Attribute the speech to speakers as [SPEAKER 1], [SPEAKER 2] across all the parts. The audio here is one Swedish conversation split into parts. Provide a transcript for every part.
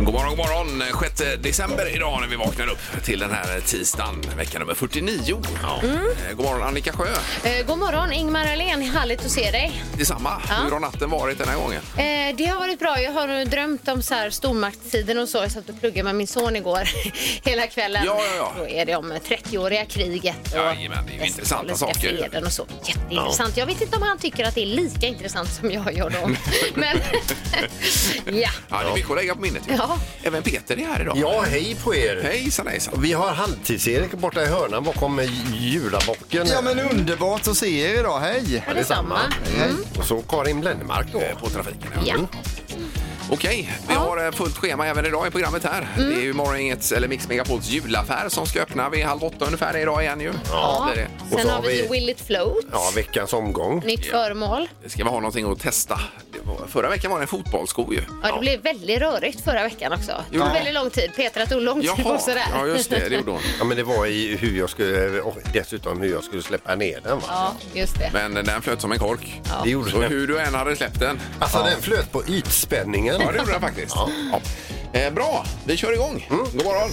[SPEAKER 1] God morgon, god morgon. 6 december idag när vi vaknar upp till den här tisdagen, vecka nummer 49. Eh, God morgon Annika Sjö.
[SPEAKER 2] Eh, god morgon, Ingmar Ahlén. Härligt att se dig.
[SPEAKER 1] Detsamma.
[SPEAKER 2] Ja.
[SPEAKER 1] Hur har natten varit den här gången?
[SPEAKER 2] Eh, det har varit bra. Jag har drömt om så här stormaktstiden och så. Jag satt och pluggade med min son igår hela kvällen.
[SPEAKER 1] Ja, ja, ja.
[SPEAKER 2] Då är det om 30-åriga kriget och
[SPEAKER 1] Jajamän, det är ju intressanta
[SPEAKER 2] västfaliska
[SPEAKER 1] saker.
[SPEAKER 2] freden och så. Jätteintressant. Jag vet inte om han tycker att det är lika intressant som jag gör då. Men ja.
[SPEAKER 1] Ja, det är mycket att lägga på minnet. ju.
[SPEAKER 2] Ja.
[SPEAKER 1] Även Peter är här idag.
[SPEAKER 3] Ja, hej på er!
[SPEAKER 1] Hejsan, hejsan.
[SPEAKER 3] Vi har halvtids-Erik borta i hörnan bakom julabocken.
[SPEAKER 4] Ja men underbart att se er idag, hej!
[SPEAKER 2] Ja, detsamma.
[SPEAKER 3] Och så Karin Blennemark då.
[SPEAKER 1] Eh, På trafiken. ja.
[SPEAKER 2] Ja.
[SPEAKER 1] Okej, vi har eh, fullt schema även idag i programmet här.
[SPEAKER 2] Mm.
[SPEAKER 1] Det är ju Morgongängets, eller Mix Megapols julaffär som ska öppna vid halv åtta ungefär idag igen ju.
[SPEAKER 2] Ja.
[SPEAKER 1] Det, är det.
[SPEAKER 3] Och
[SPEAKER 2] Sen
[SPEAKER 3] så
[SPEAKER 2] har
[SPEAKER 3] har
[SPEAKER 2] vi,
[SPEAKER 3] vi-
[SPEAKER 2] Will it float?
[SPEAKER 3] Ja, veckans omgång.
[SPEAKER 2] Nytt föremål.
[SPEAKER 1] det ska vi ha någonting att testa. Det var- Förra veckan var det en fotbollssko ju.
[SPEAKER 2] Ja, det blev väldigt rörigt förra veckan också. Det tog
[SPEAKER 1] Ja.
[SPEAKER 2] väldigt lång tid. Petra tog lång tid på sig där.
[SPEAKER 1] ja just det, det gjorde hon.
[SPEAKER 3] Ja, men det var i hur jag skulle, och dessutom hur jag skulle släppa ner den. Va?
[SPEAKER 2] Ja, just det.
[SPEAKER 1] Men den flöt som en kork.
[SPEAKER 3] Det gjorde
[SPEAKER 1] Så
[SPEAKER 3] den.
[SPEAKER 1] hur du än hade släppt den.
[SPEAKER 3] Alltså den flöt på ytspänningen.
[SPEAKER 1] Ja, det gjorde den faktiskt. Ja. Eh, bra, vi kör igång.
[SPEAKER 3] Mm.
[SPEAKER 1] God morgon.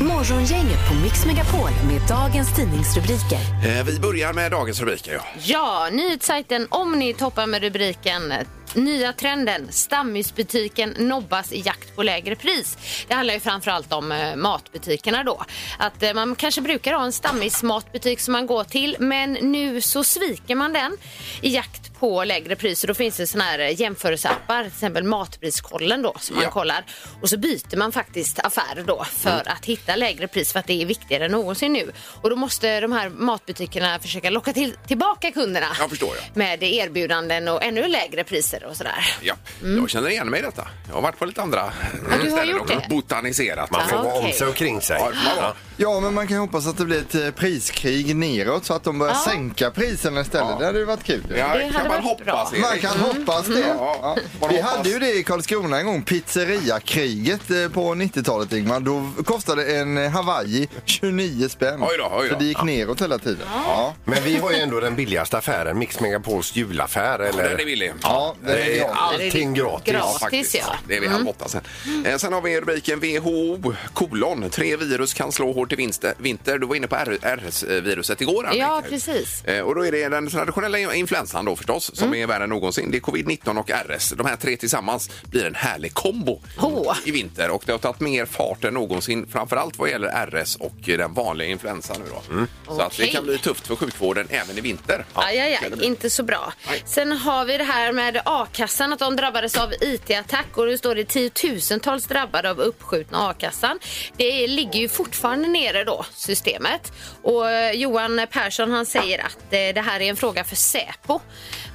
[SPEAKER 5] Morgongänget på Mix Megapol med dagens tidningsrubriker.
[SPEAKER 1] Eh, vi börjar med dagens rubriker. Ja.
[SPEAKER 2] Ja, nyhetssajten Omni toppar med rubriken Nya trenden, stammisbutiken nobbas i jakt på lägre pris. Det handlar ju framförallt om eh, matbutikerna då. Att eh, man kanske brukar ha en stammismatbutik som man går till men nu så sviker man den i jakt på lägre priser. Då finns det såna här eh, jämförelseappar, till exempel Matpriskollen då som
[SPEAKER 1] Ja.
[SPEAKER 2] man kollar. Och så byter man faktiskt affär då för
[SPEAKER 1] Mm.
[SPEAKER 2] att hitta lägre pris för att det är viktigare än någonsin nu. Och då måste de här matbutikerna försöka locka till, tillbaka kunderna
[SPEAKER 1] Jag förstår, ja.
[SPEAKER 2] med erbjudanden och ännu lägre priser och sådär.
[SPEAKER 1] Ja. Jag känner igen mig i detta. Jag har varit på lite andra
[SPEAKER 2] Mm. du har
[SPEAKER 1] ställen
[SPEAKER 2] gjort
[SPEAKER 1] och
[SPEAKER 2] det.
[SPEAKER 1] botaniserat.
[SPEAKER 3] Man får
[SPEAKER 2] Ja,
[SPEAKER 3] vara om
[SPEAKER 2] okej.
[SPEAKER 3] sig och kring sig.
[SPEAKER 1] Ja, det får man vara.
[SPEAKER 4] Ja men man kan hoppas att det blir ett eh, priskrig neråt så att de börjar
[SPEAKER 2] Ja.
[SPEAKER 4] sänka priserna istället. Det hade ju varit kul. ju.
[SPEAKER 1] Ja,
[SPEAKER 2] Det
[SPEAKER 1] det kan
[SPEAKER 2] hade
[SPEAKER 1] man
[SPEAKER 2] varit
[SPEAKER 1] hoppas,
[SPEAKER 2] bra.
[SPEAKER 1] Erik.
[SPEAKER 4] Man kan hoppas det.
[SPEAKER 1] Ja, man
[SPEAKER 4] Vi
[SPEAKER 1] hoppas.
[SPEAKER 4] hade ju det i Karlskrona en gång, pizzeriakriget eh, på 90-talet Ingmar. Då kostade en eh, Hawaii 29 spänn.
[SPEAKER 1] Oj då, oj då.
[SPEAKER 4] Så det gick neråt hela tiden. Ja,
[SPEAKER 3] Men vi har ju ändå den billigaste affären, Mix Megapols julaffär. Eller?
[SPEAKER 1] Den är billig.
[SPEAKER 4] ja det är
[SPEAKER 3] Det är
[SPEAKER 4] bra.
[SPEAKER 3] allting gratis.
[SPEAKER 2] gratis.
[SPEAKER 1] faktiskt.
[SPEAKER 2] ja.
[SPEAKER 1] Det är vi halv åtta sen. Eh, sen har vi rubriken WHO kolon. Tre virus kan slå hårt i vinster. vinter. Du var inne på R- RS-viruset igår. Annika.
[SPEAKER 2] Ja, precis.
[SPEAKER 1] Eh, Och då är det den traditionella influensan då förstås,
[SPEAKER 2] Mm.
[SPEAKER 1] som är värre än någonsin. Det är covid-19 och RS. De här tre tillsammans blir en härlig kombo
[SPEAKER 2] Ho.
[SPEAKER 1] i vinter. Och det har tagit mer fart än någonsin, framförallt vad gäller RS och eh, den vanliga influensan nu då. Så att det
[SPEAKER 2] Mm. Okej.
[SPEAKER 1] kan bli tufft för sjukvården även i vinter.
[SPEAKER 2] Aj, aj, aj, inte så bra. Sen har vi det här med a-kassan, att de drabbades av IT-attack och nu står det tiotusentals drabbade av uppskjutna a-kassan. Det ligger ju fortfarande nere då, systemet. Och eh, Johan Persson han säger att eh, det här är en fråga för Säpo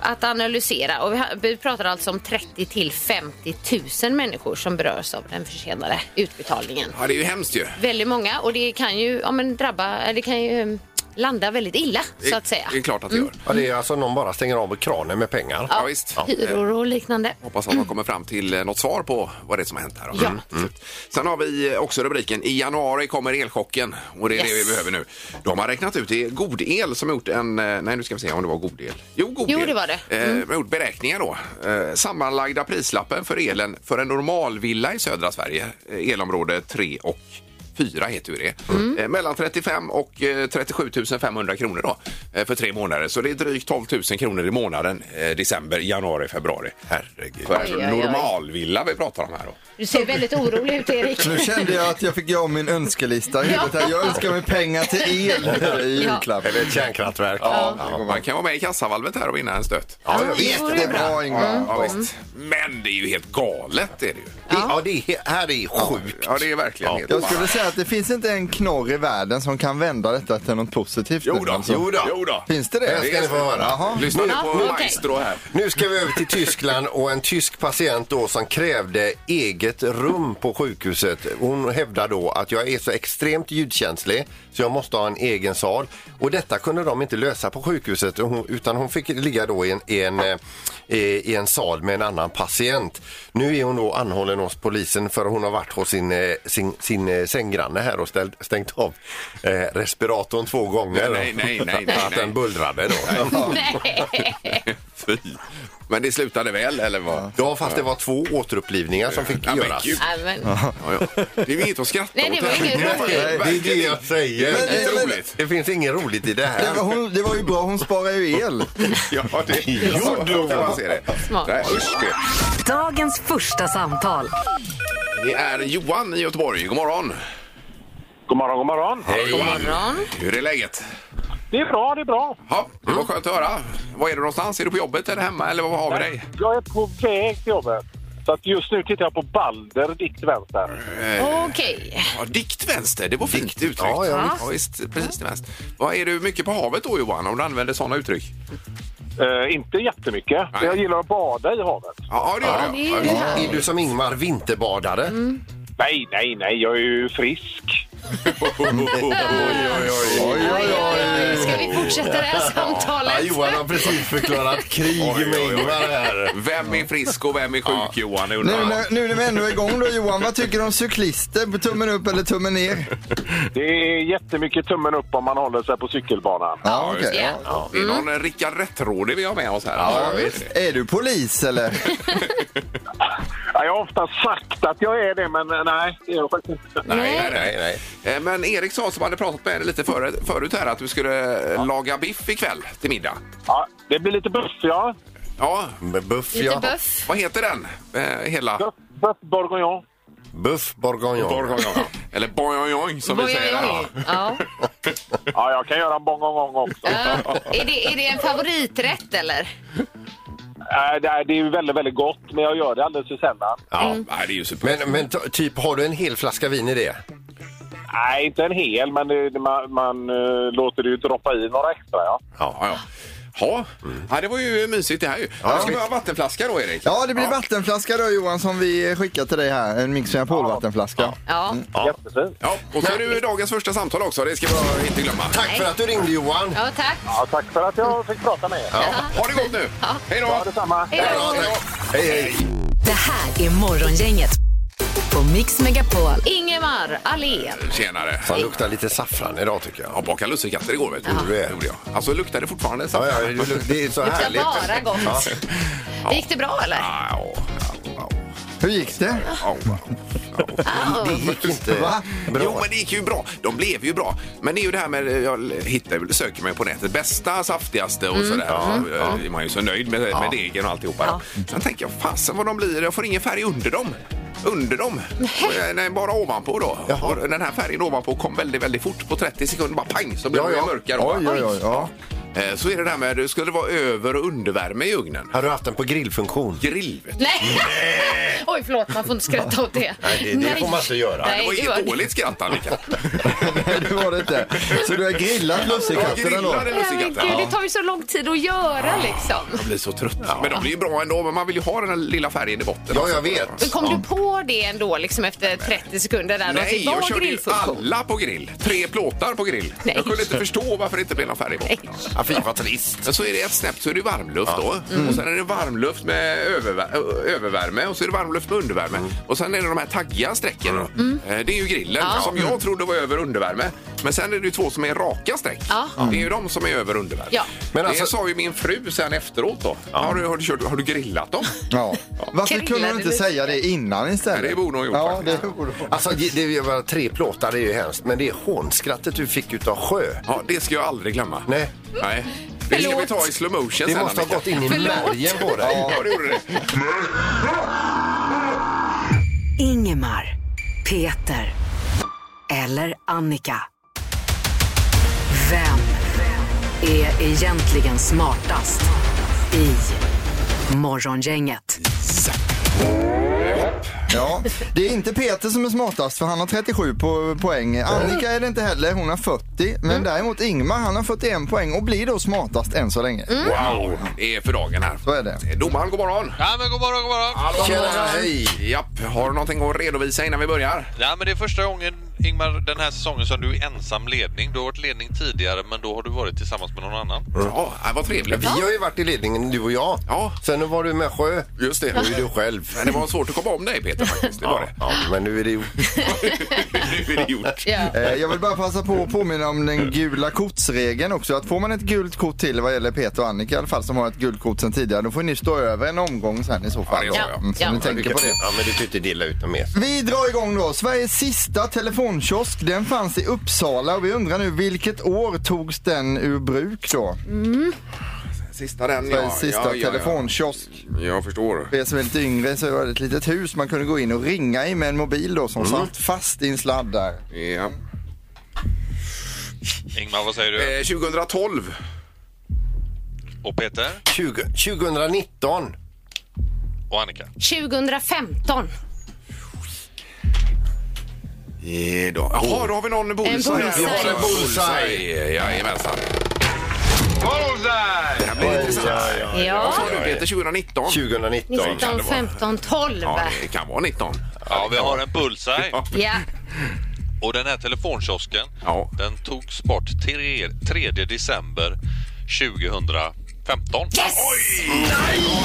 [SPEAKER 2] att analysera. Och vi ha- vi pratar alltså om 30 till 50 000 människor som berörs av den försenade utbetalningen.
[SPEAKER 1] Ja, det är ju hemskt ju.
[SPEAKER 2] Väldigt många och det kan ju ja, men drabba, eller det kan ju eh, landa väldigt illa så att säga. Mm.
[SPEAKER 1] Det är klart att det gör.
[SPEAKER 3] Ja, det är alltså någon bara stänger av kranen med pengar.
[SPEAKER 1] Ja, visst.
[SPEAKER 2] hyror och liknande.
[SPEAKER 1] Hoppas att man kommer fram till eh, något svar på vad det är som har hänt här. då. Mm.
[SPEAKER 2] Ja.
[SPEAKER 1] Sen har vi eh, också rubriken I januari kommer elchocken och det är det
[SPEAKER 2] Yes.
[SPEAKER 1] vi behöver nu. De har räknat ut, det är god el som har gjort en, eh, nej nu ska vi se om det var god el. Jo, god
[SPEAKER 2] Jo,
[SPEAKER 1] el.
[SPEAKER 2] det Mm. var det.
[SPEAKER 1] Eh, de har gjort beräkningar då. Eh, sammanlagda prislappen för elen för en normalvilla i södra Sverige, eh, elområde 3 och 4 heter ju det.
[SPEAKER 2] Mm.
[SPEAKER 1] Eh, mellan 35 och eh, 37 500 kronor då eh, för tre månader. Så det är drygt 12 000 kronor i månaden, eh, december, januari, februari. Herregud. För
[SPEAKER 2] Oj,
[SPEAKER 1] en
[SPEAKER 2] oj, oj.
[SPEAKER 1] normalvilla vi pratar om här då.
[SPEAKER 2] Du ser väldigt orolig ut, Erik.
[SPEAKER 4] Nu kände jag att jag fick göra om min önskelista i huvudet här. Jag önskar mig pengar till el i julklapp.
[SPEAKER 3] Eller ett kärnkraftverk.
[SPEAKER 1] Man kan vara med i kassavalvet här och vinna en stöt.
[SPEAKER 3] Ja, jag vet.
[SPEAKER 4] Jättebra Ingmar.
[SPEAKER 1] Ja, visst. Men det är ju helt galet är det ju.
[SPEAKER 3] Det, ja, det är, här är sjukt.
[SPEAKER 1] Ja, det är verkligen helt
[SPEAKER 4] Jag skulle säga att det finns inte en knorr i världen som kan vända detta till något positivt.
[SPEAKER 1] Jo
[SPEAKER 4] nu,
[SPEAKER 1] då,
[SPEAKER 4] alltså.
[SPEAKER 1] jo då. Jo då.
[SPEAKER 4] Finns det det?
[SPEAKER 3] Det ska ni få höra.
[SPEAKER 4] Jaha.
[SPEAKER 1] Lyssna nu
[SPEAKER 2] Ja,
[SPEAKER 1] på
[SPEAKER 2] okej.
[SPEAKER 1] Maestro här.
[SPEAKER 3] Nu ska vi över till Tyskland och en tysk patient då som krävde eget rum på sjukhuset. Hon hävdar då att jag är så extremt ljudkänslig så jag måste ha en egen sal. Och detta kunde de inte lösa på sjukhuset och hon- utan hon fick ligga då i en, i en, eh, i en sal med en annan patient. Nu är hon då anhållen hos polisen för hon har varit hos sin, eh, sin, sin eh, sänggranne här och ställt, stängt av eh, respiratorn två gånger.
[SPEAKER 1] Nej, nej, nej, nej,
[SPEAKER 3] Att den
[SPEAKER 1] nej.
[SPEAKER 3] bullrade då.
[SPEAKER 1] Fy. Men det slutade väl, eller vad?
[SPEAKER 3] Ja, fast det var två återupplivningar som fick
[SPEAKER 1] Ja, men
[SPEAKER 3] göras.
[SPEAKER 1] gud.
[SPEAKER 2] Nej, men,
[SPEAKER 1] Ja, ja. Det är ju inget att skratta
[SPEAKER 2] Nej, det
[SPEAKER 1] åt.
[SPEAKER 2] var inget
[SPEAKER 1] Det
[SPEAKER 2] roligt.
[SPEAKER 1] ju
[SPEAKER 3] Det är det
[SPEAKER 1] verkligen
[SPEAKER 3] jag säger.
[SPEAKER 1] inte
[SPEAKER 4] Nej, men-
[SPEAKER 1] roligt.
[SPEAKER 3] Det finns inget roligt i det
[SPEAKER 4] Det
[SPEAKER 3] här.
[SPEAKER 4] var, hon, det var ju bra, hon sparar ju el.
[SPEAKER 1] Ja, det gjorde hon. Man ser det.
[SPEAKER 2] Smart.
[SPEAKER 1] Nej, usch, det.
[SPEAKER 5] Dagens första samtal.
[SPEAKER 1] det är Johan i Göteborg. God morgon.
[SPEAKER 6] God morgon, god morgon.
[SPEAKER 1] Hej,
[SPEAKER 2] god morgon.
[SPEAKER 1] Hur är läget?
[SPEAKER 6] Det är bra, det är bra.
[SPEAKER 1] Ja, det var skönt att höra. Var är du någonstans? Är du på jobbet eller hemma? Eller vad har vi dig?
[SPEAKER 6] Jag är på väg till jobbet. Så att just nu tittar jag på Balder, dikt vänster.
[SPEAKER 2] Okej.
[SPEAKER 1] Ja, dikt vänster, det var fint uttryckt.
[SPEAKER 3] Ja, ja,
[SPEAKER 1] ja, visst. Precis till vänster. Vad är du mycket på havet då Johan, om du använder sådana uttryck?
[SPEAKER 6] Eh, inte jättemycket,
[SPEAKER 1] Nej.
[SPEAKER 6] men jag gillar att bada i havet.
[SPEAKER 1] Ja, det gör
[SPEAKER 2] det är
[SPEAKER 1] jag.
[SPEAKER 2] ju
[SPEAKER 1] Ja,
[SPEAKER 3] Är du som Ingmar vinterbadare?
[SPEAKER 2] Mm.
[SPEAKER 6] Nej, nej, nej, jag är ju frisk.
[SPEAKER 4] Oj, oj, oj.
[SPEAKER 2] Ska vi fortsätta det här
[SPEAKER 3] Ja,
[SPEAKER 2] samtalet?
[SPEAKER 3] Johan har precis förklarat krig
[SPEAKER 1] Oj, oj,
[SPEAKER 3] med
[SPEAKER 1] oj.
[SPEAKER 3] Ingmar här.
[SPEAKER 1] Vem är frisk och vem är sjuk Johan? det
[SPEAKER 4] Nu,
[SPEAKER 1] undrar jag.
[SPEAKER 4] när- nu när vi ändå är igång då Johan, vad tycker du om cyklister? Tummen upp eller tummen ner?
[SPEAKER 6] Det är jättemycket tummen upp om man håller sig på cykelbanan.
[SPEAKER 4] Ja, okej.
[SPEAKER 2] Ja.
[SPEAKER 1] Det är någon Rickard Rättrådig vi har med oss här.
[SPEAKER 4] Ja, visst. Är du polis eller?
[SPEAKER 6] Ja, jag har ofta sagt att jag är det, men eh, nej, det är jag faktiskt inte.
[SPEAKER 1] Nej, nej,
[SPEAKER 3] Nej, nej.
[SPEAKER 1] nej. Eh, Men Erik sa som hade pratat med dig lite förut, förut här att du skulle eh, laga biff ikväll till middag.
[SPEAKER 6] Ja, det blir lite buff, ja.
[SPEAKER 1] Ja,
[SPEAKER 3] Men Buff,
[SPEAKER 2] Lite
[SPEAKER 3] ja.
[SPEAKER 2] böff.
[SPEAKER 1] vad heter den? Eh, hela?
[SPEAKER 6] Buff, buff bourguignon.
[SPEAKER 3] Buff bourguignon.
[SPEAKER 1] Bourguignon. Eller bourguignon som vi säger.
[SPEAKER 2] Oj, oj, oj. Ja.
[SPEAKER 6] Ja, jag kan göra en bourguignon också.
[SPEAKER 2] Ja. Är, det, är det en favoriträtt eller?
[SPEAKER 6] Nej, det är- det är ju väldigt, väldigt gott, men jag gör det alldeles för sällan.
[SPEAKER 1] Ja, nej, det är ju super.
[SPEAKER 3] Men, men t- typ, har du en hel flaska vin i det?
[SPEAKER 6] Nej, inte en hel, men det, det- man, man eh, låter det ju droppa i några extra. Ja.
[SPEAKER 1] Ja, ja. Ja. ja, det var ju mysigt det här ju. Ja. Ska vi ha vattenflaska då, Erik?
[SPEAKER 4] Ja, det blir vattenflaska då Johan som vi skickar till dig här. En Mix Megapol-vattenflaska.
[SPEAKER 2] Ja.
[SPEAKER 6] Jättefint.
[SPEAKER 1] Ja, och så är det ju dagens första samtal också. Det ska vi inte glömma.
[SPEAKER 3] Tack för att du ringde Johan.
[SPEAKER 2] Ja, tack.
[SPEAKER 6] Ja, tack för att jag fick prata med er.
[SPEAKER 1] Ja. Ha det gott nu! Hej då!
[SPEAKER 6] Ja, detsamma.
[SPEAKER 2] Hej då.
[SPEAKER 1] Ja, tack.
[SPEAKER 3] Hej, hej.
[SPEAKER 5] Det här är Morgongänget på Mix Megapol.
[SPEAKER 2] Ingemar Ahlén.
[SPEAKER 1] Tjenare!
[SPEAKER 3] Han luktar lite saffran idag tycker jag.
[SPEAKER 1] Jag bakade lussekatter igår, vet du.
[SPEAKER 3] Gjorde du det?
[SPEAKER 1] gjorde jag. Alltså, luktar det fortfarande?
[SPEAKER 3] Ja, ja, det luk- det är så
[SPEAKER 2] Luktar
[SPEAKER 3] härligt.
[SPEAKER 2] bara
[SPEAKER 3] Ja.
[SPEAKER 2] gott. Gick det bra eller?
[SPEAKER 1] Au, au, au,
[SPEAKER 4] Hur gick det?
[SPEAKER 1] au, au.
[SPEAKER 3] Det gick inte
[SPEAKER 4] Va?
[SPEAKER 3] bra.
[SPEAKER 1] Jo, men det gick ju bra. De blev ju bra. Men det är ju det här med, eh, jag hittar, söker mig på nätet, bästa, saftigaste och sådär. Så, eh, är man ju så nöjd med, med degen och alltihopa. Sen tänker jag, fasen vad de blir, jag får ingen färg under dem. Under dem? Och, eh, Nej, bara ovanpå då. Och den här färgen ovanpå kom väldigt, väldigt fort. På 30 sekunder bara pang så blev
[SPEAKER 3] Ja,
[SPEAKER 1] de
[SPEAKER 3] ja.
[SPEAKER 1] mörkare.
[SPEAKER 4] Oj, oj, oj. Ja.
[SPEAKER 1] Eh, Så är det där med, skulle det vara över och undervärme i ugnen?
[SPEAKER 3] Har du haft den på grillfunktion?
[SPEAKER 1] Grill, vet du.
[SPEAKER 2] Nej! Oj, förlåt. Man får inte skratta åt det.
[SPEAKER 3] Nej, det- det får man inte göra.
[SPEAKER 2] Nej,
[SPEAKER 1] Det var
[SPEAKER 2] det
[SPEAKER 1] inget
[SPEAKER 2] var-
[SPEAKER 1] dåligt skratt, Annika.
[SPEAKER 4] Nej, det var det inte. Så du har grillat
[SPEAKER 1] Jag
[SPEAKER 4] lussekatterna då?
[SPEAKER 1] grillade
[SPEAKER 2] Nej, men gud,
[SPEAKER 1] lussekatter.
[SPEAKER 2] det tar ju så lång tid att göra liksom.
[SPEAKER 1] blir så trött. Men de blir ju bra ändå, men man vill ju ha den här lilla färgen i botten. alltså.
[SPEAKER 3] Ja, jag vet.
[SPEAKER 2] Men kom du på det ändå liksom efter 30 sekunder där? då, att
[SPEAKER 1] Nej,
[SPEAKER 2] det var
[SPEAKER 1] jag körde ju
[SPEAKER 2] grillfunktion?
[SPEAKER 1] alla på grill. Tre plåtar på grill.
[SPEAKER 2] Nej.
[SPEAKER 1] Jag kunde inte förstå varför det inte blev någon färg i botten.
[SPEAKER 3] Ja, fy vad trist.
[SPEAKER 1] Men så är det ett snäpp så är det varmluft då.
[SPEAKER 3] Mm.
[SPEAKER 1] Och sen är det varmluft med övervär- ö- övervärme och så är det varmluft med undervärme.
[SPEAKER 3] Mm.
[SPEAKER 1] Och sen är det de här taggiga strecken. då.
[SPEAKER 2] Mm.
[SPEAKER 1] Eh, Det är ju grillen som jag trodde var över och undervärme. Men sen är det ju två som är raka streck.
[SPEAKER 2] Ja.
[SPEAKER 1] Det är ju de som är över och undervärme.
[SPEAKER 2] Ja.
[SPEAKER 1] Men
[SPEAKER 3] Men
[SPEAKER 1] det
[SPEAKER 3] alltså-
[SPEAKER 1] sa ju min fru sen efteråt då. Har, du, har, du kört, har du grillat dem?
[SPEAKER 4] Ja. Varför kunde
[SPEAKER 2] Grillade
[SPEAKER 4] hon inte
[SPEAKER 2] du?
[SPEAKER 4] säga det innan istället?
[SPEAKER 1] Nej, det borde hon gjort
[SPEAKER 4] Ja,
[SPEAKER 1] faktiskt.
[SPEAKER 4] det borde hon.
[SPEAKER 3] Alltså det det är ju bara tre plåtar, det är ju hemskt. Men det är hånskrattet du fick utav Sjö.
[SPEAKER 1] Ja, det ska jag aldrig glömma.
[SPEAKER 3] Nej,
[SPEAKER 1] Nej. Det ska vi ta i
[SPEAKER 2] Förlåt.
[SPEAKER 1] slow motion
[SPEAKER 3] det
[SPEAKER 1] sen.
[SPEAKER 3] måste ha
[SPEAKER 1] Annika.
[SPEAKER 3] gått in i märgen på dig.
[SPEAKER 1] Ja, det gjorde det.
[SPEAKER 5] Ingemar, Peter eller Annika. Vem är egentligen smartast i Morgongänget?
[SPEAKER 4] Ja, det är inte Peter som är smartast för han har 37 po poäng. Annika är det inte heller, hon har 40. Men däremot Ingmar, han har 41 poäng och blir då smartast än så länge.
[SPEAKER 1] Mm.
[SPEAKER 3] Mm.
[SPEAKER 1] Wow, det är för dagen här. Eh,
[SPEAKER 4] Så är det.
[SPEAKER 1] Domaren, god morgon!
[SPEAKER 7] Ja, men god morgon, god morgon.
[SPEAKER 1] Hallå!
[SPEAKER 3] Tjena, hej!
[SPEAKER 1] Japp, har du någonting att redovisa innan vi börjar?
[SPEAKER 7] Ja, men det är första gången Ingmar den här säsongen som du är ensam ledning. Du har varit ledning tidigare men då har du varit tillsammans med någon annan.
[SPEAKER 1] Ja, det var trevligt.
[SPEAKER 3] Vi har ju varit i ledningen, du och jag.
[SPEAKER 1] Ja.
[SPEAKER 3] Sen nu var du med Sjö.
[SPEAKER 1] Just det.
[SPEAKER 3] Nu är du själv.
[SPEAKER 1] Men det var svårt att komma om dig Peter faktiskt. Det var det.
[SPEAKER 3] Ja, men nu är det ju...
[SPEAKER 1] nu är det gjort.
[SPEAKER 2] Ja.
[SPEAKER 4] Eh, Jag vill bara passa på att påminna om den gula kortsregeln också. Att får man ett gult kort till vad gäller Peter och Annika i alla fall som har ett gult kort sen tidigare, då får ni stå över en omgång sen i så fall.
[SPEAKER 1] Ja, det gör jag.
[SPEAKER 4] Mm, så
[SPEAKER 2] Ja.
[SPEAKER 4] ni tänker på det.
[SPEAKER 3] Ja, men du kan ju inte dela ut dem mer.
[SPEAKER 4] Vi drar igång då. Sveriges sista telefonkiosk, den fanns i Uppsala och vi undrar nu vilket år togs den ur bruk då?
[SPEAKER 1] Sista den
[SPEAKER 4] Sveriges sista telefonkiosk.
[SPEAKER 1] Ja. Jag förstår.
[SPEAKER 4] För er som är lite yngre så var det ett litet hus man kunde gå in och ringa i med en mobil då som satt fast i en sladd där.
[SPEAKER 1] Ja.
[SPEAKER 7] Ingmar, vad säger du?
[SPEAKER 1] Eh, 2012.
[SPEAKER 7] Och Peter?
[SPEAKER 3] 20, 2019.
[SPEAKER 7] Och Annika?
[SPEAKER 2] 2015.
[SPEAKER 1] Eh, då. Jaha, då har vi någon bullseye.
[SPEAKER 2] bullseye.
[SPEAKER 1] Vi har en bullseye.
[SPEAKER 3] Bullseye.
[SPEAKER 1] Jajamensan. Bullseye! Det här blir intressant. Vad
[SPEAKER 2] Ja.
[SPEAKER 1] sa du Peter? 2019?
[SPEAKER 3] 2019.
[SPEAKER 2] 19, 15, 12.
[SPEAKER 1] Ja, det kan vara 19.
[SPEAKER 7] Ja, vi har en bullseye.
[SPEAKER 1] Ja.
[SPEAKER 2] Ja.
[SPEAKER 7] Och den här telefonkiosken,
[SPEAKER 1] Ja.
[SPEAKER 7] den togs bort tre- 3 december 2015.
[SPEAKER 3] Ja,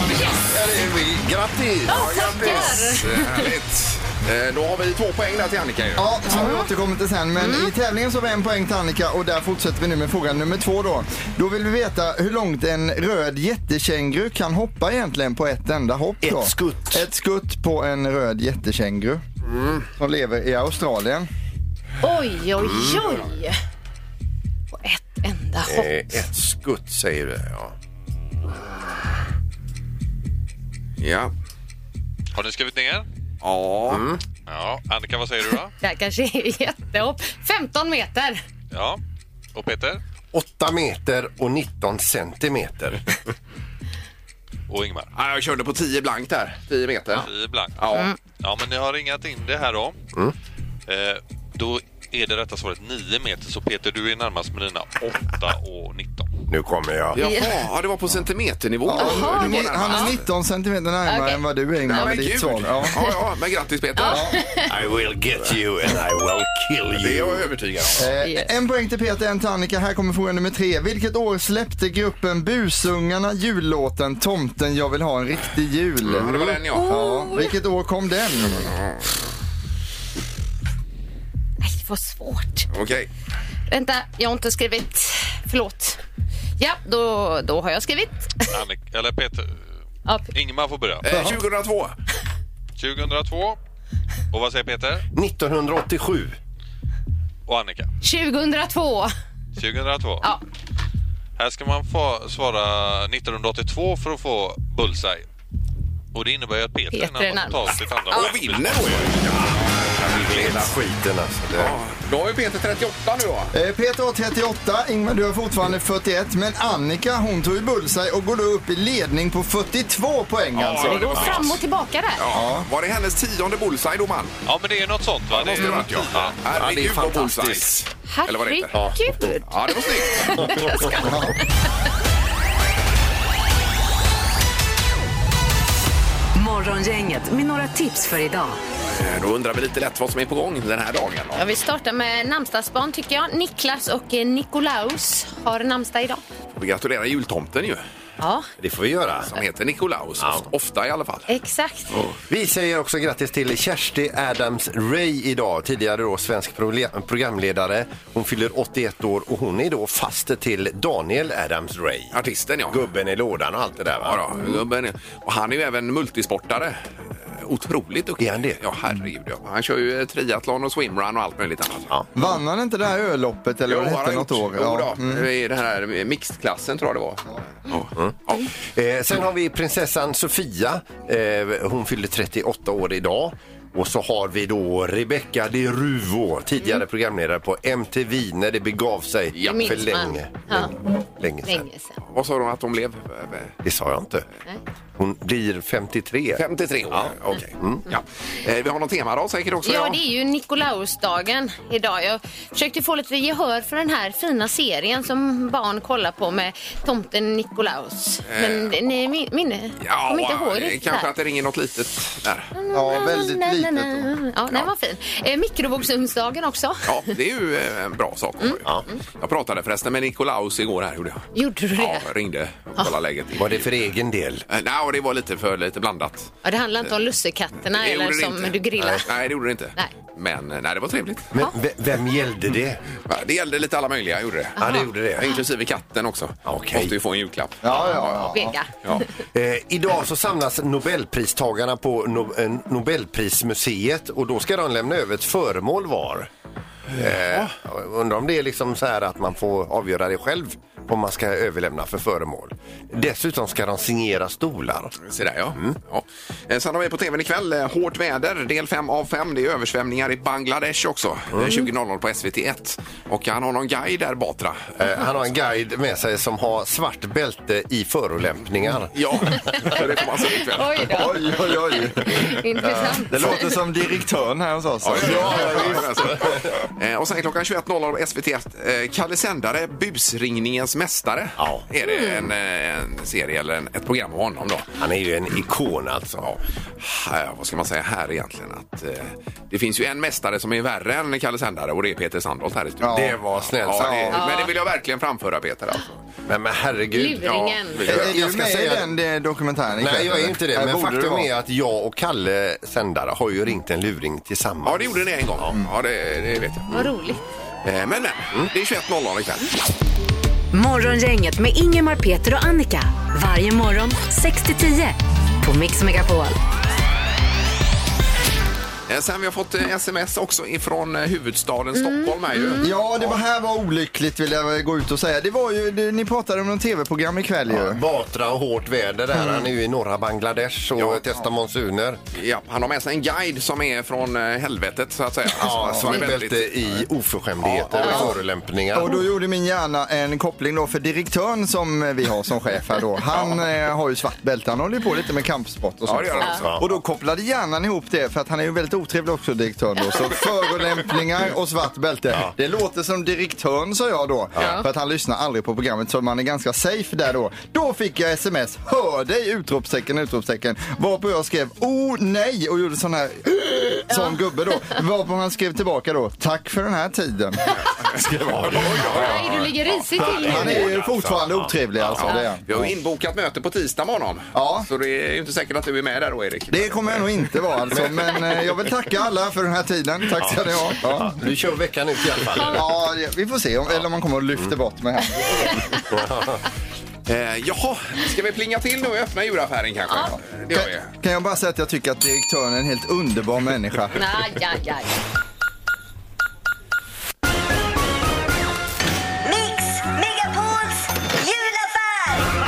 [SPEAKER 3] det är vi. Grattis!
[SPEAKER 2] Ja, tackar!
[SPEAKER 1] Eh, Härligt. Eh, Då har vi två poäng där till Annika ju.
[SPEAKER 4] Ja, som vi återkommer till sen. Men i tävlingen så har vi en poäng till Annika och där fortsätter vi nu med fråga nummer två då. Då vill vi veta hur långt en röd jättekänguru kan hoppa egentligen på ett enda hopp då.
[SPEAKER 3] Ett skutt.
[SPEAKER 4] Ett skutt på en röd jättekänguru. Som lever i Australien.
[SPEAKER 2] Oj, oj,
[SPEAKER 1] Mm.
[SPEAKER 2] oj. På ett enda hopp.
[SPEAKER 3] Eh, Ett skutt säger du, ja.
[SPEAKER 1] Ja.
[SPEAKER 7] Har ni skrivit ner?
[SPEAKER 1] Ja.
[SPEAKER 7] Mm. Ja. Annika, vad säger du då?
[SPEAKER 2] Det här kanske är jättehopp. 15 meter.
[SPEAKER 7] Ja. Och Peter?
[SPEAKER 3] 8 meter och 19 centimeter.
[SPEAKER 7] Och Ingmar?
[SPEAKER 1] Ja, Jag körde på 10 blankt där. 10 meter.
[SPEAKER 7] I blank.
[SPEAKER 1] Ja.
[SPEAKER 2] Mm.
[SPEAKER 1] Mm.
[SPEAKER 7] Ja, men ni har ringat in det här då. Eh, då är det rätta svaret 9 meter, så Peter du är närmast med dina 8 och 19.
[SPEAKER 3] Nu kommer jag.
[SPEAKER 1] Jaha, ja, det var på centimeternivå.
[SPEAKER 4] Ja,
[SPEAKER 1] Det var
[SPEAKER 4] han, är-
[SPEAKER 1] närmast.
[SPEAKER 4] han är 19 centimeter närmare
[SPEAKER 2] Okej.
[SPEAKER 4] än vad du är Ingmar
[SPEAKER 1] Ja,
[SPEAKER 4] med
[SPEAKER 1] men
[SPEAKER 4] ditt
[SPEAKER 1] gud.
[SPEAKER 4] svar.
[SPEAKER 1] Ja.
[SPEAKER 4] Ja.
[SPEAKER 1] Ja, men grattis Peter. Ja.
[SPEAKER 3] I will get you and I will kill
[SPEAKER 1] Det är
[SPEAKER 3] you.
[SPEAKER 1] jag övertygad om.
[SPEAKER 4] Eh,
[SPEAKER 2] Yes.
[SPEAKER 4] En poäng till Peter, en till Annika. Här kommer fråga nummer tre. Vilket år släppte gruppen Busungarna jullåten Tomten jag vill ha en riktig jul?
[SPEAKER 1] Ja, det var den ja.
[SPEAKER 4] Ja, vilket år kom den?
[SPEAKER 2] Nej, vad svårt.
[SPEAKER 1] Okej.
[SPEAKER 2] Vänta, jag har inte skrivit. Förlåt. Ja, då, då har jag skrivit.
[SPEAKER 7] Annika, eller Peter, eh,
[SPEAKER 2] Ja,
[SPEAKER 7] Ingmar får börja.
[SPEAKER 1] Eh, 2002.
[SPEAKER 7] 2002. Och vad säger Peter?
[SPEAKER 3] 1987.
[SPEAKER 7] Och Annika?
[SPEAKER 2] 2002.
[SPEAKER 7] 2002.
[SPEAKER 2] Ja.
[SPEAKER 7] Här ska man få svara 1982 för att få bullseye. Och det innebär ju att Peter,
[SPEAKER 2] Peter är
[SPEAKER 7] närmast tar
[SPEAKER 2] närmast.
[SPEAKER 7] sitt andra
[SPEAKER 1] Och vinner då ju.
[SPEAKER 3] Hela skiten alltså. Det.
[SPEAKER 1] Ja, Då har ju Peter 38 nu va?
[SPEAKER 4] Eh, Peter har 38, Ingmar du har fortfarande 41, men Annika hon tog ju bullseye och går då upp i ledning på 42 poäng alltså.
[SPEAKER 2] Det går fram och tillbaka där.
[SPEAKER 1] Ja. Var det hennes tionde bullseye domaren?
[SPEAKER 7] Ja, men det är något sånt va? Det
[SPEAKER 1] Måste det varit ja. Herregud vad bullseye. Eller vad det heter.
[SPEAKER 2] Herregud.
[SPEAKER 1] Ja, det var snyggt.
[SPEAKER 5] Morgongänget med några tips för idag.
[SPEAKER 1] Eh, Då undrar vi lite lätt vad som är på gång den här dagen.
[SPEAKER 2] Ja, vi startar med namnsdagsbarn tycker jag. Niklas och eh, Nikolaus har namnsdag idag.
[SPEAKER 1] Vi gratulerar jultomten ju,
[SPEAKER 2] Ja,
[SPEAKER 3] det får vi göra.
[SPEAKER 1] som heter Nikolaus. Ofta i alla fall.
[SPEAKER 2] exakt.
[SPEAKER 3] Vi säger också grattis till Kersti Adams Ray idag, tidigare då svensk prole- programledare. Hon fyller 81 år och hon är då faster till Daniel Adams Ray.
[SPEAKER 1] Artisten ja.
[SPEAKER 3] Gubben Mm. i lådan och allt det där va?
[SPEAKER 1] Ja, då, gubben. är- Och han är ju även multisportare. Eh, Otroligt duktig.
[SPEAKER 3] Är han det?
[SPEAKER 1] Ja, herregud. Ja. Han kör ju eh, triathlon och swimrun och allt möjligt annat.
[SPEAKER 3] Ja.
[SPEAKER 4] Vann han inte det här ölloppet eller vad det hette något år? Mm,
[SPEAKER 1] Ja. eh, I den här mixedklassen tror jag det var. Ja. Ja.
[SPEAKER 3] Eh, sen har vi prinsessan Sofia. Eh, hon fyller 38 år idag. Och så har vi då Rebecca de Ruvo, tidigare programledare på MTV när det begav sig
[SPEAKER 1] Ja,
[SPEAKER 2] minns
[SPEAKER 3] för
[SPEAKER 2] man.
[SPEAKER 3] länge,
[SPEAKER 2] Ja.
[SPEAKER 3] länge sedan.
[SPEAKER 2] Länge sedan.
[SPEAKER 1] Vad sa de att de blev? Eh,
[SPEAKER 3] Det sa jag inte. Hon blir 53.
[SPEAKER 1] 53 år? Ja. Okej.
[SPEAKER 3] Mm.
[SPEAKER 1] Ja. Eh, Vi har någon temadag säkert också.
[SPEAKER 2] Ja, det är ju Nikolausdagen idag. Jag försökte få lite gehör för den här fina serien som barn kollar på med tomten Nikolaus. Men ni min- minne?
[SPEAKER 1] Eh. Ja,
[SPEAKER 2] Kommer inte ihåg
[SPEAKER 1] eh,
[SPEAKER 2] riktigt.
[SPEAKER 1] kanske
[SPEAKER 2] där.
[SPEAKER 1] att det ringer något litet där.
[SPEAKER 4] Ja, väldigt
[SPEAKER 2] Na, na,
[SPEAKER 4] litet
[SPEAKER 2] na.
[SPEAKER 4] då.
[SPEAKER 2] Ja, den var fin. Eh, mikrovågsugnsdagen också.
[SPEAKER 1] Ja, det är ju eh, en bra sak.
[SPEAKER 2] Mm.
[SPEAKER 1] Ja. Jag pratade förresten med Nikolaus igår här. Gjorde jag.
[SPEAKER 2] Gjorde du det?
[SPEAKER 1] Ja, jag ringde och kollade läget.
[SPEAKER 3] Var det för egen del?
[SPEAKER 1] Eh, Nej, och det var lite för lite blandat.
[SPEAKER 2] Ja, det handlar inte om lussekatterna
[SPEAKER 1] Det
[SPEAKER 2] eller
[SPEAKER 1] gjorde det
[SPEAKER 2] som
[SPEAKER 1] inte.
[SPEAKER 2] du grillar.
[SPEAKER 1] Nej, nej, det gjorde det inte.
[SPEAKER 2] Nej.
[SPEAKER 1] Men eh, nej, det var trevligt.
[SPEAKER 3] Men ve- vem gällde det?
[SPEAKER 1] Ja, Det gällde lite alla möjliga, gjorde det.
[SPEAKER 3] Ja, det gjorde det.
[SPEAKER 1] Inklusive katten också.
[SPEAKER 3] Okej.
[SPEAKER 1] Måste ju få en julklapp.
[SPEAKER 4] Ja, ja, ja.
[SPEAKER 2] Vega.
[SPEAKER 1] Ja.
[SPEAKER 3] Eh, idag så samlas Nobelpristagarna på no- eh, Nobelprismuseet och då ska de lämna över ett föremål var. Eh, undrar om det är liksom så här att man får avgöra det själv vad man ska överlämna för föremål. Dessutom ska de signera stolar.
[SPEAKER 1] Se där, ja. ja. Eh, Sen har vi på tvn ikväll eh, Hårt väder, del 5 av 5. Det är översvämningar i Bangladesh också. Mm. 20.00 på SVT1. Och han har någon guide där, Batra.
[SPEAKER 3] Eh, han har en guide med sig som har svart bälte i förolämpningar.
[SPEAKER 1] Ja, så det får man se ikväll.
[SPEAKER 2] Oj då,
[SPEAKER 4] Oj, oj, oj.
[SPEAKER 2] intressant.
[SPEAKER 4] Det låter som direktören här hos oss.
[SPEAKER 1] Ja, ja, ja, ja. Alltså. Eh, Och sen klockan 21.00 på SVT1, eh, Kalle Sändare, busringningens mästare.
[SPEAKER 3] Ja.
[SPEAKER 1] Är det en, eh, en serie eller en, ett program om honom då?
[SPEAKER 3] Han är ju en ikon alltså.
[SPEAKER 1] Ja, här, vad ska man säga här egentligen? Att, eh, det finns ju en mästare som är värre än Kalle Sändare och det är Peter Sandholt här i studion.
[SPEAKER 4] Ja.
[SPEAKER 3] Det var snällt
[SPEAKER 1] Ja,
[SPEAKER 3] sagt.
[SPEAKER 1] det, Men det vill jag verkligen framföra Peter. Alltså.
[SPEAKER 3] Men, men herregud.
[SPEAKER 2] Luringen.
[SPEAKER 3] Ja.
[SPEAKER 4] Är, är
[SPEAKER 3] Jag
[SPEAKER 4] du
[SPEAKER 3] ska
[SPEAKER 4] med
[SPEAKER 3] säga
[SPEAKER 4] i den eh, dokumentären
[SPEAKER 3] Nej,
[SPEAKER 4] ikväll,
[SPEAKER 3] jag är
[SPEAKER 4] eller?
[SPEAKER 3] inte det.
[SPEAKER 4] Nej,
[SPEAKER 3] Men
[SPEAKER 4] borde du
[SPEAKER 3] faktum
[SPEAKER 4] vara.
[SPEAKER 3] är att jag och Kalle Sändare har ju ringt en luring tillsammans.
[SPEAKER 1] Ja, det gjorde ni en gång. Ja, det, det vet jag.
[SPEAKER 2] Vad roligt.
[SPEAKER 1] Eh, men, men, det är 21.00 ikväll.
[SPEAKER 5] Morgongänget med Ingemar, Peter och Annika. Varje morgon 6 till 10 på Mix Megapol.
[SPEAKER 1] Eh, sen vi har fått eh, sms också ifrån eh, huvudstaden Stockholm här ju.
[SPEAKER 4] Ja, det var här var olyckligt vill jag väl gå ut och säga. Det var ju, det, ni pratade om någon tv-program ikväll ju.
[SPEAKER 3] Batra och hårt väder där. Han är ju i norra Bangladesh och
[SPEAKER 1] Ja.
[SPEAKER 3] testar monsuner.
[SPEAKER 1] Ja, han har med sig en guide som är från eh, helvetet så att säga.
[SPEAKER 3] Ja,
[SPEAKER 1] som är
[SPEAKER 3] Svartbälte
[SPEAKER 1] väldigt...
[SPEAKER 3] i oförskämdheter och förolämpningar.
[SPEAKER 4] Och då gjorde min hjärna en koppling då för direktören som eh, vi har som chef här då. Han eh, har ju svart bälte, han håller ju på lite med kampsport och
[SPEAKER 1] Ja,
[SPEAKER 4] sånt.
[SPEAKER 1] det gör han också.
[SPEAKER 4] Och då kopplade hjärnan ihop det för att han är ju väldigt otrevlig också direktören då. Så förolämpningar och svart bälte. Det låter som direktören sa jag då. För att han lyssnar aldrig på programmet så man är ganska safe där då. Då fick jag sms. Hör dig! Utropstecken, utropstecken. Varpå jag skrev oh nej och gjorde sån här sån gubbe då. Varpå han skrev tillbaka då. Tack för den här tiden.
[SPEAKER 2] Nej, du ligger risigt till
[SPEAKER 4] Han
[SPEAKER 2] nu.
[SPEAKER 4] är ju fortfarande otrevlig alltså. Det är. han.
[SPEAKER 1] Vi har ju inbokat möte på tisdag med honom.
[SPEAKER 4] Ja.
[SPEAKER 1] Så det är ju inte säkert att du är med där då, Erik.
[SPEAKER 4] Det kommer jag nog inte vara alltså. Men eh, jag vill tacka alla för den här tiden. Tack ska ni ha. Ja.
[SPEAKER 3] Du kör veckan ut i alla fall.
[SPEAKER 4] Ja, vi får se om, eller om man kommer att lyfta bort mig här.
[SPEAKER 1] Eh, jaha, ska vi plinga till nu och öppna djuraffären kanske? Ja. Det gör vi.
[SPEAKER 4] Kan, kan jag bara säga att jag tycker att direktören är en helt underbar människa.
[SPEAKER 2] Aj, aj, aj.
[SPEAKER 8] Mix Megapols julaffär!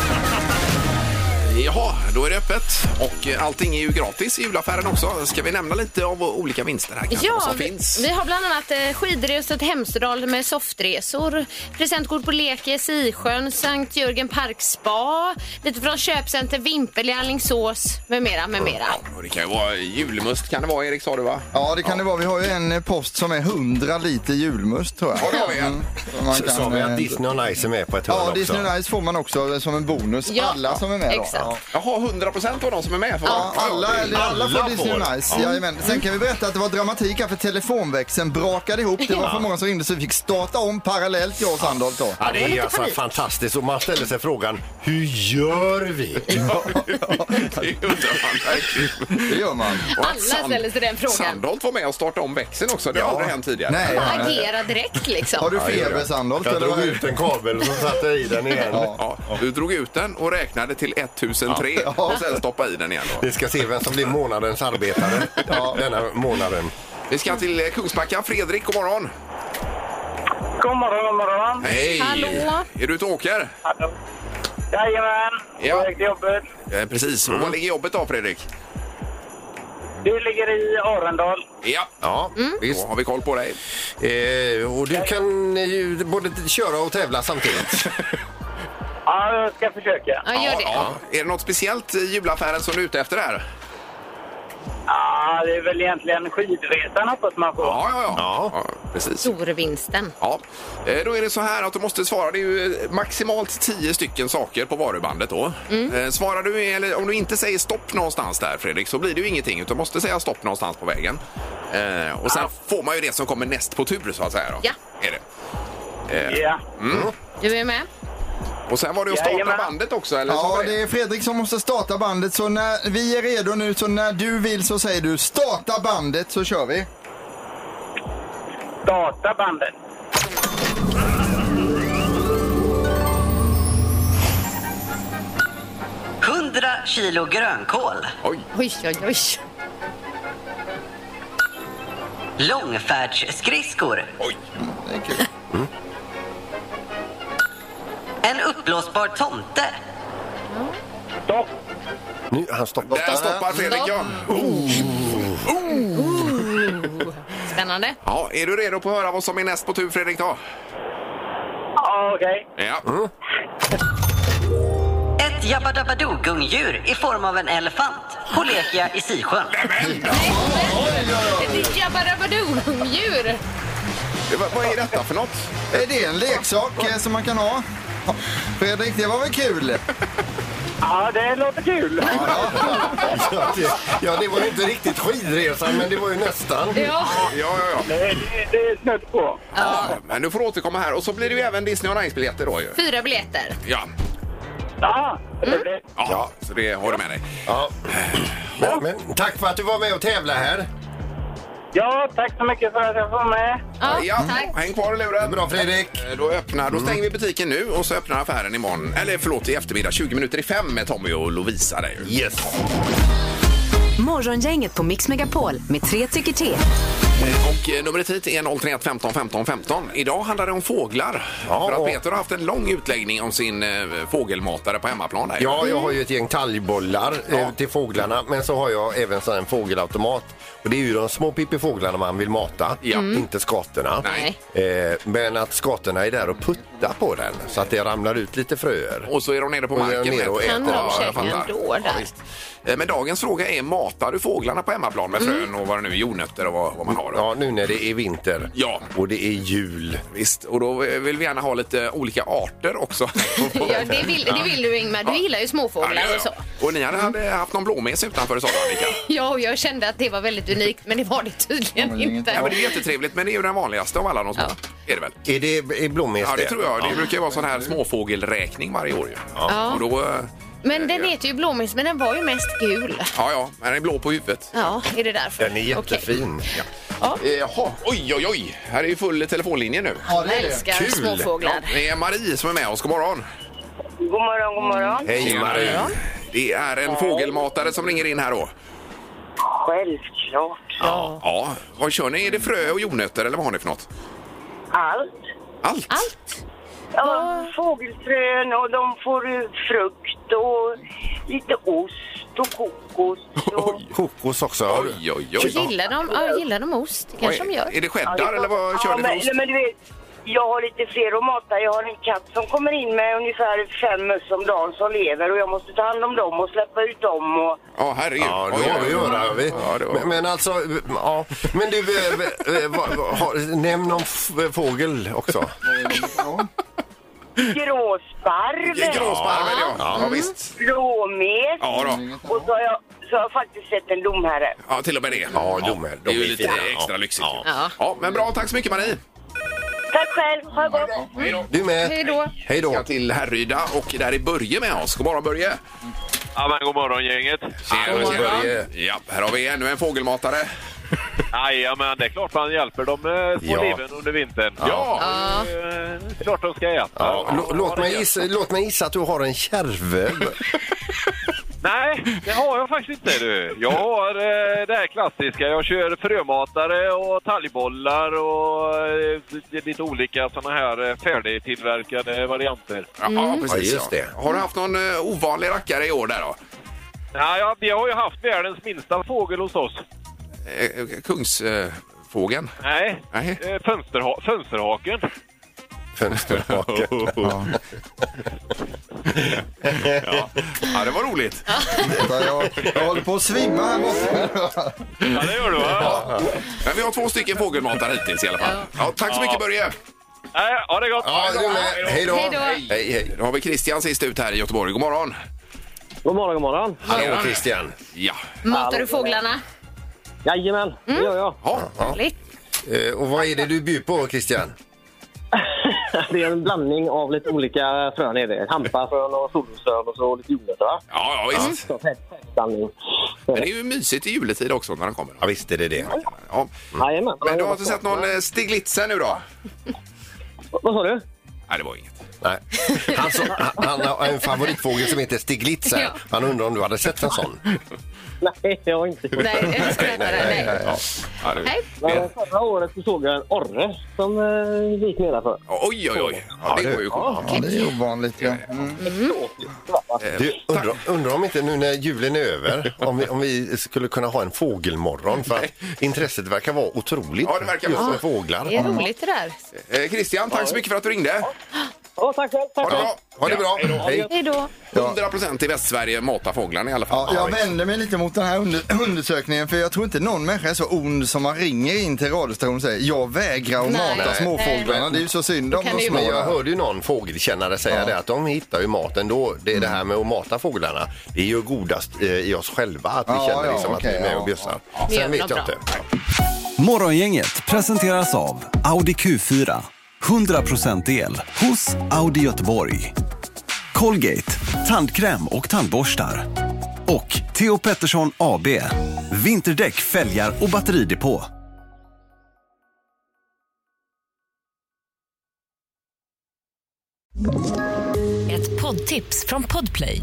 [SPEAKER 1] Jaha, då är det öppet. Och eh, allting är ju gratis i julaffären också. Ska vi nämna lite av olika vinster här kanske, vad
[SPEAKER 2] Ja,
[SPEAKER 1] som
[SPEAKER 2] vi,
[SPEAKER 1] finns?
[SPEAKER 2] vi har bland annat eh, skidreset Hemsedal med softresor, presentkort på Lekes, Isjön, Sankt Jörgen Parkspa, lite från köpcenter Vimpel i Alingsås med mera, med mera.
[SPEAKER 1] Ja, och det kan ju vara julmust kan det vara, Erik sa du va?
[SPEAKER 4] Ja, det kan det vara. Vi har ju en eh, post som är 100 liter julmust tror jag. Mm.
[SPEAKER 1] Ja, det har vi, ja.
[SPEAKER 4] Så man
[SPEAKER 3] Så
[SPEAKER 4] kan,
[SPEAKER 3] sa vi
[SPEAKER 4] eh,
[SPEAKER 3] att Disney och Nice är med på ett hörn
[SPEAKER 4] Ja,
[SPEAKER 3] också.
[SPEAKER 4] Disney Nice får man också eh, som en bonus.
[SPEAKER 2] Ja,
[SPEAKER 4] alla som är med då.
[SPEAKER 2] exakt.
[SPEAKER 4] Ja.
[SPEAKER 1] Jaha, 100 procent av de som är med får
[SPEAKER 4] Ja, alla,
[SPEAKER 1] det är-
[SPEAKER 4] alla, alla
[SPEAKER 3] Alla
[SPEAKER 4] får Disney
[SPEAKER 3] får.
[SPEAKER 4] Nice. Jajamän. Sen kan vi berätta att det var dramatik här för telefonväxeln brakade ihop. Det var för många som ringde så vi fick starta om parallellt jag och Sandholt då.
[SPEAKER 3] Ja, det är alltså fantastiskt och man ställer sig frågan, hur gör vi?
[SPEAKER 1] Det undrar man verkligen.
[SPEAKER 4] Det gör man.
[SPEAKER 1] Och att
[SPEAKER 2] Alla
[SPEAKER 1] Sand-
[SPEAKER 2] ställer sig den frågan.
[SPEAKER 1] Sandholt var med och startade om växeln också. Det har aldrig hänt tidigare.
[SPEAKER 4] Nej.
[SPEAKER 2] Agera direkt
[SPEAKER 4] Har
[SPEAKER 2] liksom.
[SPEAKER 4] du feber Sandholt?
[SPEAKER 3] Jag
[SPEAKER 4] eller
[SPEAKER 3] drog
[SPEAKER 4] vad?
[SPEAKER 3] ut en kabel och så satte jag i den igen.
[SPEAKER 1] Ja, du drog ut den och räknade till 1003 och sen stoppade i den igen. Då.
[SPEAKER 3] Vi ska se vem som blir månadens arbetare denna månaden.
[SPEAKER 1] Vi ska till eh, Kungsbacka. Fredrik, god morgon!
[SPEAKER 9] God morgon, god morgon.
[SPEAKER 1] Hej!
[SPEAKER 2] Hallå.
[SPEAKER 1] Är du ute och åker?
[SPEAKER 9] Hallå. Jajamän,
[SPEAKER 1] Ja.
[SPEAKER 9] på väg till jobbet.
[SPEAKER 1] Eh, precis. Och var ligger jobbet då, Fredrik?
[SPEAKER 9] Du ligger i Arendal.
[SPEAKER 1] Ja,
[SPEAKER 3] Ja, visst.
[SPEAKER 1] då har vi koll på dig.
[SPEAKER 3] Eh, och du kan ju både köra och tävla samtidigt.
[SPEAKER 9] Ja, jag ska försöka.
[SPEAKER 2] Ja, gör det.
[SPEAKER 1] Är det något speciellt i julaffären som du är ute efter här?
[SPEAKER 9] Ja, det är väl egentligen skidresan hoppas man på.
[SPEAKER 1] Ja, ja, ja. ja. precis.
[SPEAKER 2] Storvinsten.
[SPEAKER 1] Ja. Eh, Då är det så här att du måste svara. Det är ju eh, maximalt 10 stycken saker på varubandet då.
[SPEAKER 2] Mm.
[SPEAKER 1] Eh, Svarar du, eller om du inte säger stopp någonstans där Fredrik, så blir det ju ingenting. Utan måste säga stopp någonstans på vägen. Eh, Och sen får man ju det som kommer näst på tur så att säga. Då.
[SPEAKER 2] Ja.
[SPEAKER 1] Är det.
[SPEAKER 9] Ja.
[SPEAKER 2] Du är med?
[SPEAKER 1] Och sen var det att starta
[SPEAKER 9] Jajamän.
[SPEAKER 1] bandet också, eller? så
[SPEAKER 4] Ja,
[SPEAKER 1] var
[SPEAKER 4] det är Fredrik som måste starta bandet. Så när vi är redo nu, så när du vill så säger du starta bandet så kör vi.
[SPEAKER 9] Starta bandet.
[SPEAKER 1] Oj.
[SPEAKER 2] Oj, oj, oj.
[SPEAKER 10] Långfärdsskridskor. Mm.
[SPEAKER 1] Oj.
[SPEAKER 4] Det är kul.
[SPEAKER 10] En uppblåsbar tomte.
[SPEAKER 9] Stopp.
[SPEAKER 3] Nu, han stoppar.
[SPEAKER 1] Där stoppar Fredrik, ja. Oh.
[SPEAKER 2] Spännande.
[SPEAKER 1] ja. Är du redo på att höra vad som är näst på tur, Fredrik? Då?
[SPEAKER 9] Ja, okej.
[SPEAKER 1] Ja.
[SPEAKER 4] Mm.
[SPEAKER 10] Ett jabbadabbadoo-gungdjur i form av en elefant på Lekia i Sisjön.
[SPEAKER 2] Ett Jabba Dabba Doo-djur.
[SPEAKER 1] Det var- Vad är detta för något?
[SPEAKER 4] Är det en leksak eh, som man kan ha? Ja. Fredrik, det var väl kul?
[SPEAKER 9] Ja, det låter kul.
[SPEAKER 3] Ja, det, ja, det var ju inte riktigt skidresan, men det var ju nästan.
[SPEAKER 2] Ja.
[SPEAKER 1] Ja, ja, ja.
[SPEAKER 9] Det, det, det är snudd
[SPEAKER 2] Mm.
[SPEAKER 9] på.
[SPEAKER 1] Ja, men du får återkomma här. Och så blir det ju även Disney och Nice-biljetter då ju.
[SPEAKER 2] Fyra biljetter.
[SPEAKER 1] Ja.
[SPEAKER 9] Ja, trevligt.
[SPEAKER 1] ja, så det har du med dig.
[SPEAKER 3] Ja. Men, men, tack för att du var med och tävlade här.
[SPEAKER 9] Ja, tack så mycket för att jag får med.
[SPEAKER 2] Ja,
[SPEAKER 1] Ja,
[SPEAKER 2] tack.
[SPEAKER 1] häng kvar i luren.
[SPEAKER 3] Bra Fredrik.
[SPEAKER 1] Eh, Då, öppnar, då stänger vi butiken nu och så öppnar affären imorgon, eller förlåt i eftermiddag, 20 minuter i fem med Tommy och Lovisa där ju.
[SPEAKER 3] Yes.
[SPEAKER 5] Morgongänget på Mix Megapol med tre tycker till.
[SPEAKER 1] Eh, Och eh, numret hit är 031 15 15 15. Idag handlar det om fåglar.
[SPEAKER 3] Ja,
[SPEAKER 1] för att
[SPEAKER 3] och-
[SPEAKER 1] Peter har haft en lång utläggning om sin eh, fågelmatare på hemmaplan där ju.
[SPEAKER 3] Ja, jag har ju ett gäng talgbollar eh, till fåglarna, men så har jag även sån här en fågelautomat. Och det är ju de små pippifåglarna man vill mata,
[SPEAKER 1] Ja. Mm.
[SPEAKER 3] inte skatorna.
[SPEAKER 1] Nej.
[SPEAKER 3] Eh, men att skatorna är där och puttar på den så att det ramlar ut lite fröer.
[SPEAKER 1] Och så är de nere på
[SPEAKER 3] Och är
[SPEAKER 1] marken.
[SPEAKER 3] de nere och
[SPEAKER 1] vet du.
[SPEAKER 3] äter.
[SPEAKER 2] Kan de
[SPEAKER 1] Ja, jag
[SPEAKER 2] käka
[SPEAKER 1] fattar.
[SPEAKER 2] ändå
[SPEAKER 1] Ja,
[SPEAKER 2] där?
[SPEAKER 1] visst. Eh, Men dagens fråga är, matar du fåglarna på hemmaplan med frön
[SPEAKER 2] Mm.
[SPEAKER 1] och vad det nu är, jordnötter och vad, vad man har? Då?
[SPEAKER 3] Ja, nu när det är vinter
[SPEAKER 1] Ja.
[SPEAKER 3] och det är jul.
[SPEAKER 1] Visst, och då eh, vill vi gärna ha lite olika arter också.
[SPEAKER 2] Ja, det, vill, det vill du Ingmar. Du gillar ju
[SPEAKER 1] Ja, det gör
[SPEAKER 2] småfåglar
[SPEAKER 1] jag.
[SPEAKER 2] och så.
[SPEAKER 1] Och ni hade hade haft någon blåmes utanför sa du, Annika.
[SPEAKER 2] Ja, och jag kände att det var väldigt unikt, men det var det
[SPEAKER 4] Ja,
[SPEAKER 2] tydligen
[SPEAKER 4] men det är inget
[SPEAKER 2] inte.
[SPEAKER 1] Ja, men det är jättetrevligt, men det är ju den vanligaste av alla de små.
[SPEAKER 2] Ja.
[SPEAKER 1] Är det väl?
[SPEAKER 3] Är det är blommes
[SPEAKER 1] Ja, det tror jag. Det brukar ju vara sån här småfågelräkning varje år ju.
[SPEAKER 2] Ja.
[SPEAKER 1] Och då, eh,
[SPEAKER 2] Men den heter ju blåmes, men den var ju mest gul.
[SPEAKER 1] ja, ja, men den är blå på huvudet.
[SPEAKER 2] Ja, är det därför?
[SPEAKER 3] Den är
[SPEAKER 2] Okej.
[SPEAKER 3] jättefin.
[SPEAKER 1] Eh, Jaha, oj, oj, oj. Här är ju full telefonlinje nu.
[SPEAKER 4] Ja,
[SPEAKER 2] Jag älskar
[SPEAKER 3] Kul.
[SPEAKER 1] Ja,
[SPEAKER 2] småfåglar.
[SPEAKER 1] det är Marie som är med oss. God morgon.
[SPEAKER 9] God morgon, god morgon.
[SPEAKER 3] Hej Marie!
[SPEAKER 1] Det är en fågelmatare som ringer in här då.
[SPEAKER 9] Självklart.
[SPEAKER 1] Ja. ja. Vad kör ni? Är det frö och jordnötter eller vad har ni för något?
[SPEAKER 9] Allt.
[SPEAKER 1] Allt?
[SPEAKER 9] Ja, fågelfrön och de får eh, frukt och lite ost och kokos. Och...
[SPEAKER 3] Kokos också. har du.
[SPEAKER 1] Oj, oj,
[SPEAKER 2] Och
[SPEAKER 1] oj.
[SPEAKER 2] gillar de, ja, gillar de ost? Det kanske de
[SPEAKER 1] Vad är-
[SPEAKER 2] gör.
[SPEAKER 1] Är det
[SPEAKER 9] Ja,
[SPEAKER 1] cheddar
[SPEAKER 9] det får-
[SPEAKER 1] eller vad kör
[SPEAKER 9] ja,
[SPEAKER 1] ni för
[SPEAKER 9] men,
[SPEAKER 1] ost?
[SPEAKER 9] nej, men du vet, jag har lite fler att mata. Jag har en katt som kommer in med ungefär fem möss om dagen som lever och jag måste ta hand om dem och släppa ut dem. Och...
[SPEAKER 1] Ja, herregud.
[SPEAKER 3] Ja,
[SPEAKER 1] Oj,
[SPEAKER 3] det har
[SPEAKER 1] oj,
[SPEAKER 3] vi
[SPEAKER 1] oj.
[SPEAKER 3] att göra. Vi,
[SPEAKER 1] Ja, det var-
[SPEAKER 3] men, men alltså, ja. Men du, eh, eh, vad- vad- har- nämn någon f- eh, fågel också.
[SPEAKER 9] Gråsparv,
[SPEAKER 1] Gråsparven, ja. Ja, visst.
[SPEAKER 9] blåmes
[SPEAKER 1] Ja, då.
[SPEAKER 9] och så har, jag, så har jag faktiskt sett en domherre.
[SPEAKER 1] ja, till och med det.
[SPEAKER 3] Ja, de är- de
[SPEAKER 1] det är ju
[SPEAKER 3] är
[SPEAKER 1] lite
[SPEAKER 3] fina.
[SPEAKER 1] extra
[SPEAKER 3] Ja.
[SPEAKER 1] lyxigt. Ja.
[SPEAKER 2] Ja.
[SPEAKER 1] men bra. Tack så mycket, Marie.
[SPEAKER 9] Tack själv, ha det gott!
[SPEAKER 1] Hej då.
[SPEAKER 3] Du
[SPEAKER 2] Hej
[SPEAKER 3] med.
[SPEAKER 2] då.
[SPEAKER 3] Hej
[SPEAKER 1] Vi ska
[SPEAKER 3] då.
[SPEAKER 1] till Härryda och där är Börje med oss. God morgon, Börje.
[SPEAKER 6] Ja, men god morgon gänget.
[SPEAKER 1] Tjena,
[SPEAKER 3] morgon.
[SPEAKER 1] tjena.
[SPEAKER 3] Börje.
[SPEAKER 1] Ja, här har vi ännu en fågelmatare.
[SPEAKER 6] Jajamän, det är klart man hjälper de eh, små
[SPEAKER 3] Ja.
[SPEAKER 6] liven under vintern.
[SPEAKER 1] Ja.
[SPEAKER 6] Eh, klart de ska äta.
[SPEAKER 3] Ja, lå- låt, mig gissa, låt mig gissa att du har en kärve.
[SPEAKER 6] Nej, det har jag faktiskt inte. Du. Jag har eh, det här klassiska. Jag kör frömatare och talgbollar och eh, lite olika såna här eh, färdigtillverkade varianter.
[SPEAKER 1] Ja, precis.
[SPEAKER 3] Ja, just det.
[SPEAKER 1] Har du haft någon eh, ovanlig rackare i år där då?
[SPEAKER 6] Nej, ja, vi har ju haft världens minsta fågel hos oss.
[SPEAKER 1] Eh, Kungsfågeln?
[SPEAKER 6] Nej,
[SPEAKER 1] Nej.
[SPEAKER 6] Eh, fönsterha- fönsterhaken.
[SPEAKER 3] Fönsterhaken.
[SPEAKER 1] ja. ja, det var roligt.
[SPEAKER 4] Jag, jag håller på att svimma här borta.
[SPEAKER 6] Ja, det gör du va?
[SPEAKER 1] Men vi har två stycken fågelmatar hittills i alla fall. Ja, tack så mycket Börje!
[SPEAKER 6] Nej, ha det gott!
[SPEAKER 3] Ja, du med. Hej då!
[SPEAKER 2] Hej då.
[SPEAKER 3] Hej, hej.
[SPEAKER 1] Då har vi Christian sist ut här i Göteborg. God morgon!
[SPEAKER 11] God morgon, god morgon.
[SPEAKER 3] Hallå Christian!
[SPEAKER 1] Ja,
[SPEAKER 2] Matar du fåglarna?
[SPEAKER 11] Jajamän, det gör jag.
[SPEAKER 1] ja.
[SPEAKER 3] Eh, Och vad är det du bjuder på Christian?
[SPEAKER 11] Det är en blandning av lite olika frön. Är det. Hampafrön och solrosfrön och så lite jordnötter. va?
[SPEAKER 1] ja, ja visst.
[SPEAKER 11] Så fett- fett blandning.
[SPEAKER 1] Men det är ju mysigt i juletid också när den kommer.
[SPEAKER 3] Ja, visst är det det.
[SPEAKER 1] Ja.
[SPEAKER 11] Jajamän.
[SPEAKER 1] Men du har inte sett någon eh, Stiglitzer nu då?
[SPEAKER 11] Vad sa du?
[SPEAKER 1] Nej, det var inget.
[SPEAKER 3] Nej. Han, som, han har en favoritfågel som heter Stiglitzer.
[SPEAKER 2] Ja.
[SPEAKER 3] Han undrar om du hade sett en sån.
[SPEAKER 4] Eh,
[SPEAKER 11] Nej, jag har inte.
[SPEAKER 2] Nej, jag skrattar. Nej,
[SPEAKER 1] Ja. Ja, det...
[SPEAKER 2] Hej.
[SPEAKER 11] Men förra året så såg jag en orre som eh, gick nedanför.
[SPEAKER 1] Oj, oj, oj. Ja,
[SPEAKER 3] Ja,
[SPEAKER 1] det
[SPEAKER 3] du.
[SPEAKER 1] går ju sjukt.
[SPEAKER 4] Ja, det är ovanligt. Ja. Mm.
[SPEAKER 3] Du, undrar, undrar om inte nu när julen är över, om vi, om vi skulle kunna ha en fågelmorgon. För att intresset verkar vara otroligt.
[SPEAKER 1] Ja, det verkar
[SPEAKER 3] just
[SPEAKER 1] vara.
[SPEAKER 3] med fåglar.
[SPEAKER 2] Det är roligt det där.
[SPEAKER 1] Eh, Christian, tack så mycket för att du ringde.
[SPEAKER 11] Ja, tack själv.
[SPEAKER 1] Ha
[SPEAKER 11] Tack
[SPEAKER 1] det
[SPEAKER 11] själv.
[SPEAKER 1] bra!
[SPEAKER 3] Ha det bra. Hej.
[SPEAKER 2] Hej då.
[SPEAKER 1] 100 procent i Västsverige matar fåglarna i alla fall.
[SPEAKER 4] Ja, jag vänder mig lite mot den här under undersökningen för jag tror inte någon människa är så ond som man ringer in till radiostationen och säger jag vägrar att
[SPEAKER 2] Nej.
[SPEAKER 4] mata
[SPEAKER 2] Nej.
[SPEAKER 4] småfåglarna. Det är ju så synd om
[SPEAKER 2] kan
[SPEAKER 4] de
[SPEAKER 2] det ju
[SPEAKER 4] små.
[SPEAKER 3] Men jag hörde ju någon fågelkännare säga det att de hittar ju mat ändå. Det är det här med att mata fåglarna. Det är ju godast eh, i oss själva att vi
[SPEAKER 4] Ja,
[SPEAKER 3] känner
[SPEAKER 4] ja,
[SPEAKER 3] liksom att vi
[SPEAKER 4] okej,
[SPEAKER 3] är med
[SPEAKER 4] ja,
[SPEAKER 3] och bjussar.
[SPEAKER 2] Det
[SPEAKER 3] Sen
[SPEAKER 2] är
[SPEAKER 3] vet jag
[SPEAKER 2] bra.
[SPEAKER 3] inte.
[SPEAKER 12] Morgongänget presenteras av Audi Q4. 100% el hos Audi Göteborg. Colgate, tandkräm och tandborstar. Och Theo Pettersson AB, vinterdäck, fälgar och batteridepå.
[SPEAKER 5] Ett poddtips från Podplay.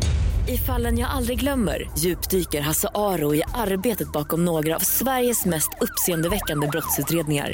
[SPEAKER 5] I fallen jag aldrig glömmer djupdyker Hasse Aro i arbetet bakom några av Sveriges mest uppseendeväckande brottsutredningar.